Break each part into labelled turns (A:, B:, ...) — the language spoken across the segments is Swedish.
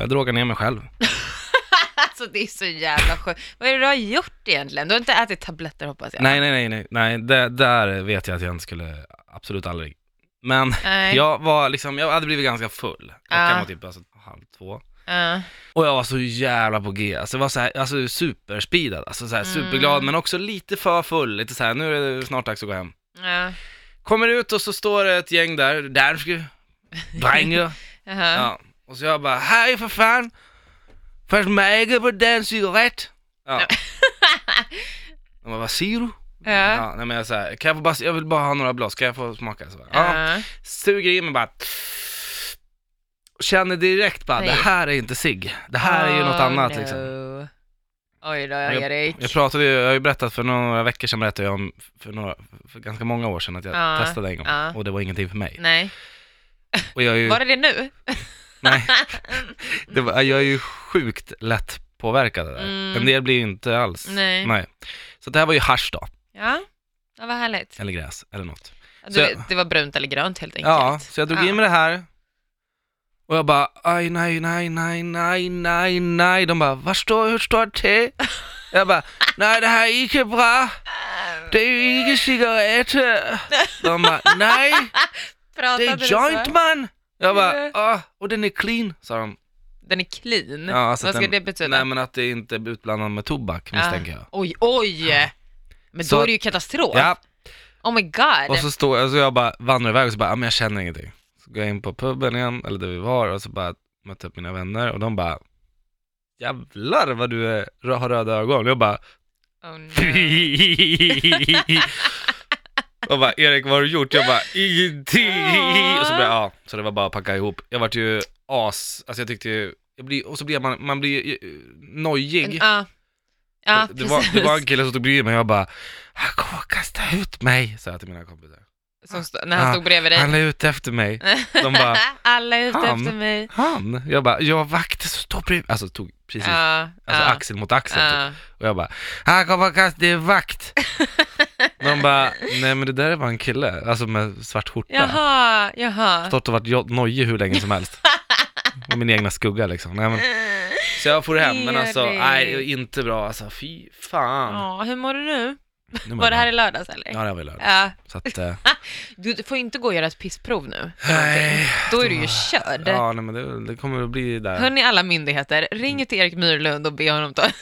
A: jag drogar ner mig själv.
B: Alltså det är så jävla sjukt. Vad är det du har gjort egentligen? Du har inte ätit tabletter hoppas jag?
A: Nej, nej, nej, nej, nej. Det, där vet jag att jag inte skulle, absolut aldrig. Men
B: Nej.
A: jag var liksom, jag hade blivit ganska full. Klockan
B: Ja.
A: var typ alltså, halv två.
B: Ja.
A: Och jag var så jävla på G, alltså jag var så här, alltså superspeedad, alltså så här,
B: Mm.
A: superglad men också lite för full, lite så här, nu är det snart dags att gå hem.
B: Ja.
A: Kommer ut och så står det ett gäng där, danske, dränge,
B: Jaha.
A: ja. Och så jag bara, hej för fan, först mäger på den cigarett. Ja. De bara, vad säger du?
B: Ja.
A: Ja, nej men jag säger, kan jag få bara, jag vill bara ha några blås, kan jag få smaka? Så, bara, ja.
B: Ja.
A: Suger i mig bara, och känner direkt bara,
B: Nej.
A: det här är inte sig. det här är ju något
B: Oh,
A: annat
B: no.
A: liksom.
B: Oj då,
A: Jag-
B: Erik.
A: Jag pratade ju, jag har ju berättat för några veckor sedan berättade jag om, för, några, för ganska många år sedan att jag
B: Ja,
A: testade en gång
B: ja.
A: och det var ingenting för mig.
B: Nej.
A: Och jag är ju,
B: ah. Mm. Var det det nu?
A: Mm. nej, det var, jag är ju sjukt lätt påverkad av det där.
B: Mm.
A: En del blir ju inte alls,
B: Nej.
A: Så det här var ju hasch då,
B: Ja. ja, vad härligt.
A: eller gräs, eller något.
B: Du,
A: Så jag-
B: Det var brunt eller grönt helt enkelt.
A: Ja, så jag drog
B: Ja.
A: in med det här och jag bara, aj nej, nej, nej, nej, nej, nej. De bara, vad står, hur står det till? Jag bara, nej det här är inte bra, det är ju inte cigaretter. De bara, nej.
B: Pratade
A: Det är
B: du
A: joint
B: så?
A: man! Jag bara,
B: Ja.
A: ah, och den är clean, sa de.
B: Den är clean.
A: Ja, alltså
B: vad
A: att
B: ska
A: den-
B: det betyda?
A: Nej men att det inte är utblandat med tobak misstänker jag.
B: Ja. Oj, oj! Men
A: Så
B: då
A: att-
B: är det ju katastrof.
A: Ja,
B: Oh my god.
A: och så står jag, så jag bara vandrar iväg och så bara, ah, men jag känner ingenting. Så går jag in på puben igen, eller där vi var, och så bara mötte upp mina vänner och de bara, jävlar vad du är, rö- har röda ögon. Jag bara,
B: Oh, no.
A: och bara, Erik vad har du gjort? Jag bara, ingenting.
B: Ja.
A: Och så började, ja, så det var bara att packa ihop. Jag vart ju as, alltså jag tyckte ju, jag blir, och så blir man, man blir ju, eh, nojig.
B: Ja, ja
A: det, var, det var en kille som stod bredvid mig och jag bara, han kommer att kasta ut mig, sa jag till mina kompisar.
B: Som stod, när han
A: Ja,
B: stod bredvid dig.
A: Ah, Han är ute efter mig. De bara,
B: Alla är ute
A: Han.
B: efter mig.
A: han? Jag bara, jag har vakter som står bredvid, alltså tog precis,
B: Ja,
A: alltså
B: ja,
A: axel mot axel typ.
B: ja.
A: Och jag bara, han kommer att kasta, det är vakt. De bara, nej men det där är bara en kille, alltså med svart skjorta.
B: Jaha, jaha.
A: Stått och varit jo- nojig hur länge som helst. Och min egna skugga liksom. Nej, men. Så jag får hem, men alltså,
B: Erik.
A: nej det är inte bra alltså, fy fan.
B: Ja, hur mår du nu?
A: Nu mår
B: Var det
A: jag
B: här
A: bra.
B: i lördags eller?
A: Ja det här var i lördag.
B: Ja.
A: Så att, eh,
B: Du får inte gå och göra ett pissprov nu.
A: nej.
B: Då är du ju körd.
A: Ja nej men det, det kommer att bli där.
B: Hörni alla myndigheter, ring till Erik Myrlund och be honom ta...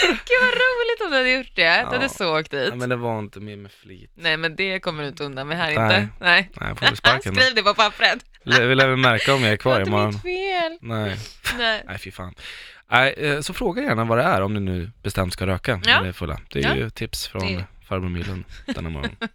B: Gud vad roligt om du hade gjort det. Du hade så åkt dit.
A: Nej men det var inte mer med flit.
B: Nej men det kommer du inte undan med här
A: Nej.
B: inte. Nej.
A: Nej jag får väl sparken då.
B: Skriv det på pappret.
A: Le- Vi lär väl märka om jag är
B: Det var
A: kvar
B: inte
A: imorgon.
B: mitt fel.
A: Nej,
B: Nej.
A: nej fy fan. Nej, eh, så fråga gärna vad det är om ni nu bestämt ska röka
B: Ja.
A: när ni är fulla. Det är
B: Ja.
A: ju tips från
B: Det-
A: farbror Mylund denna morgon.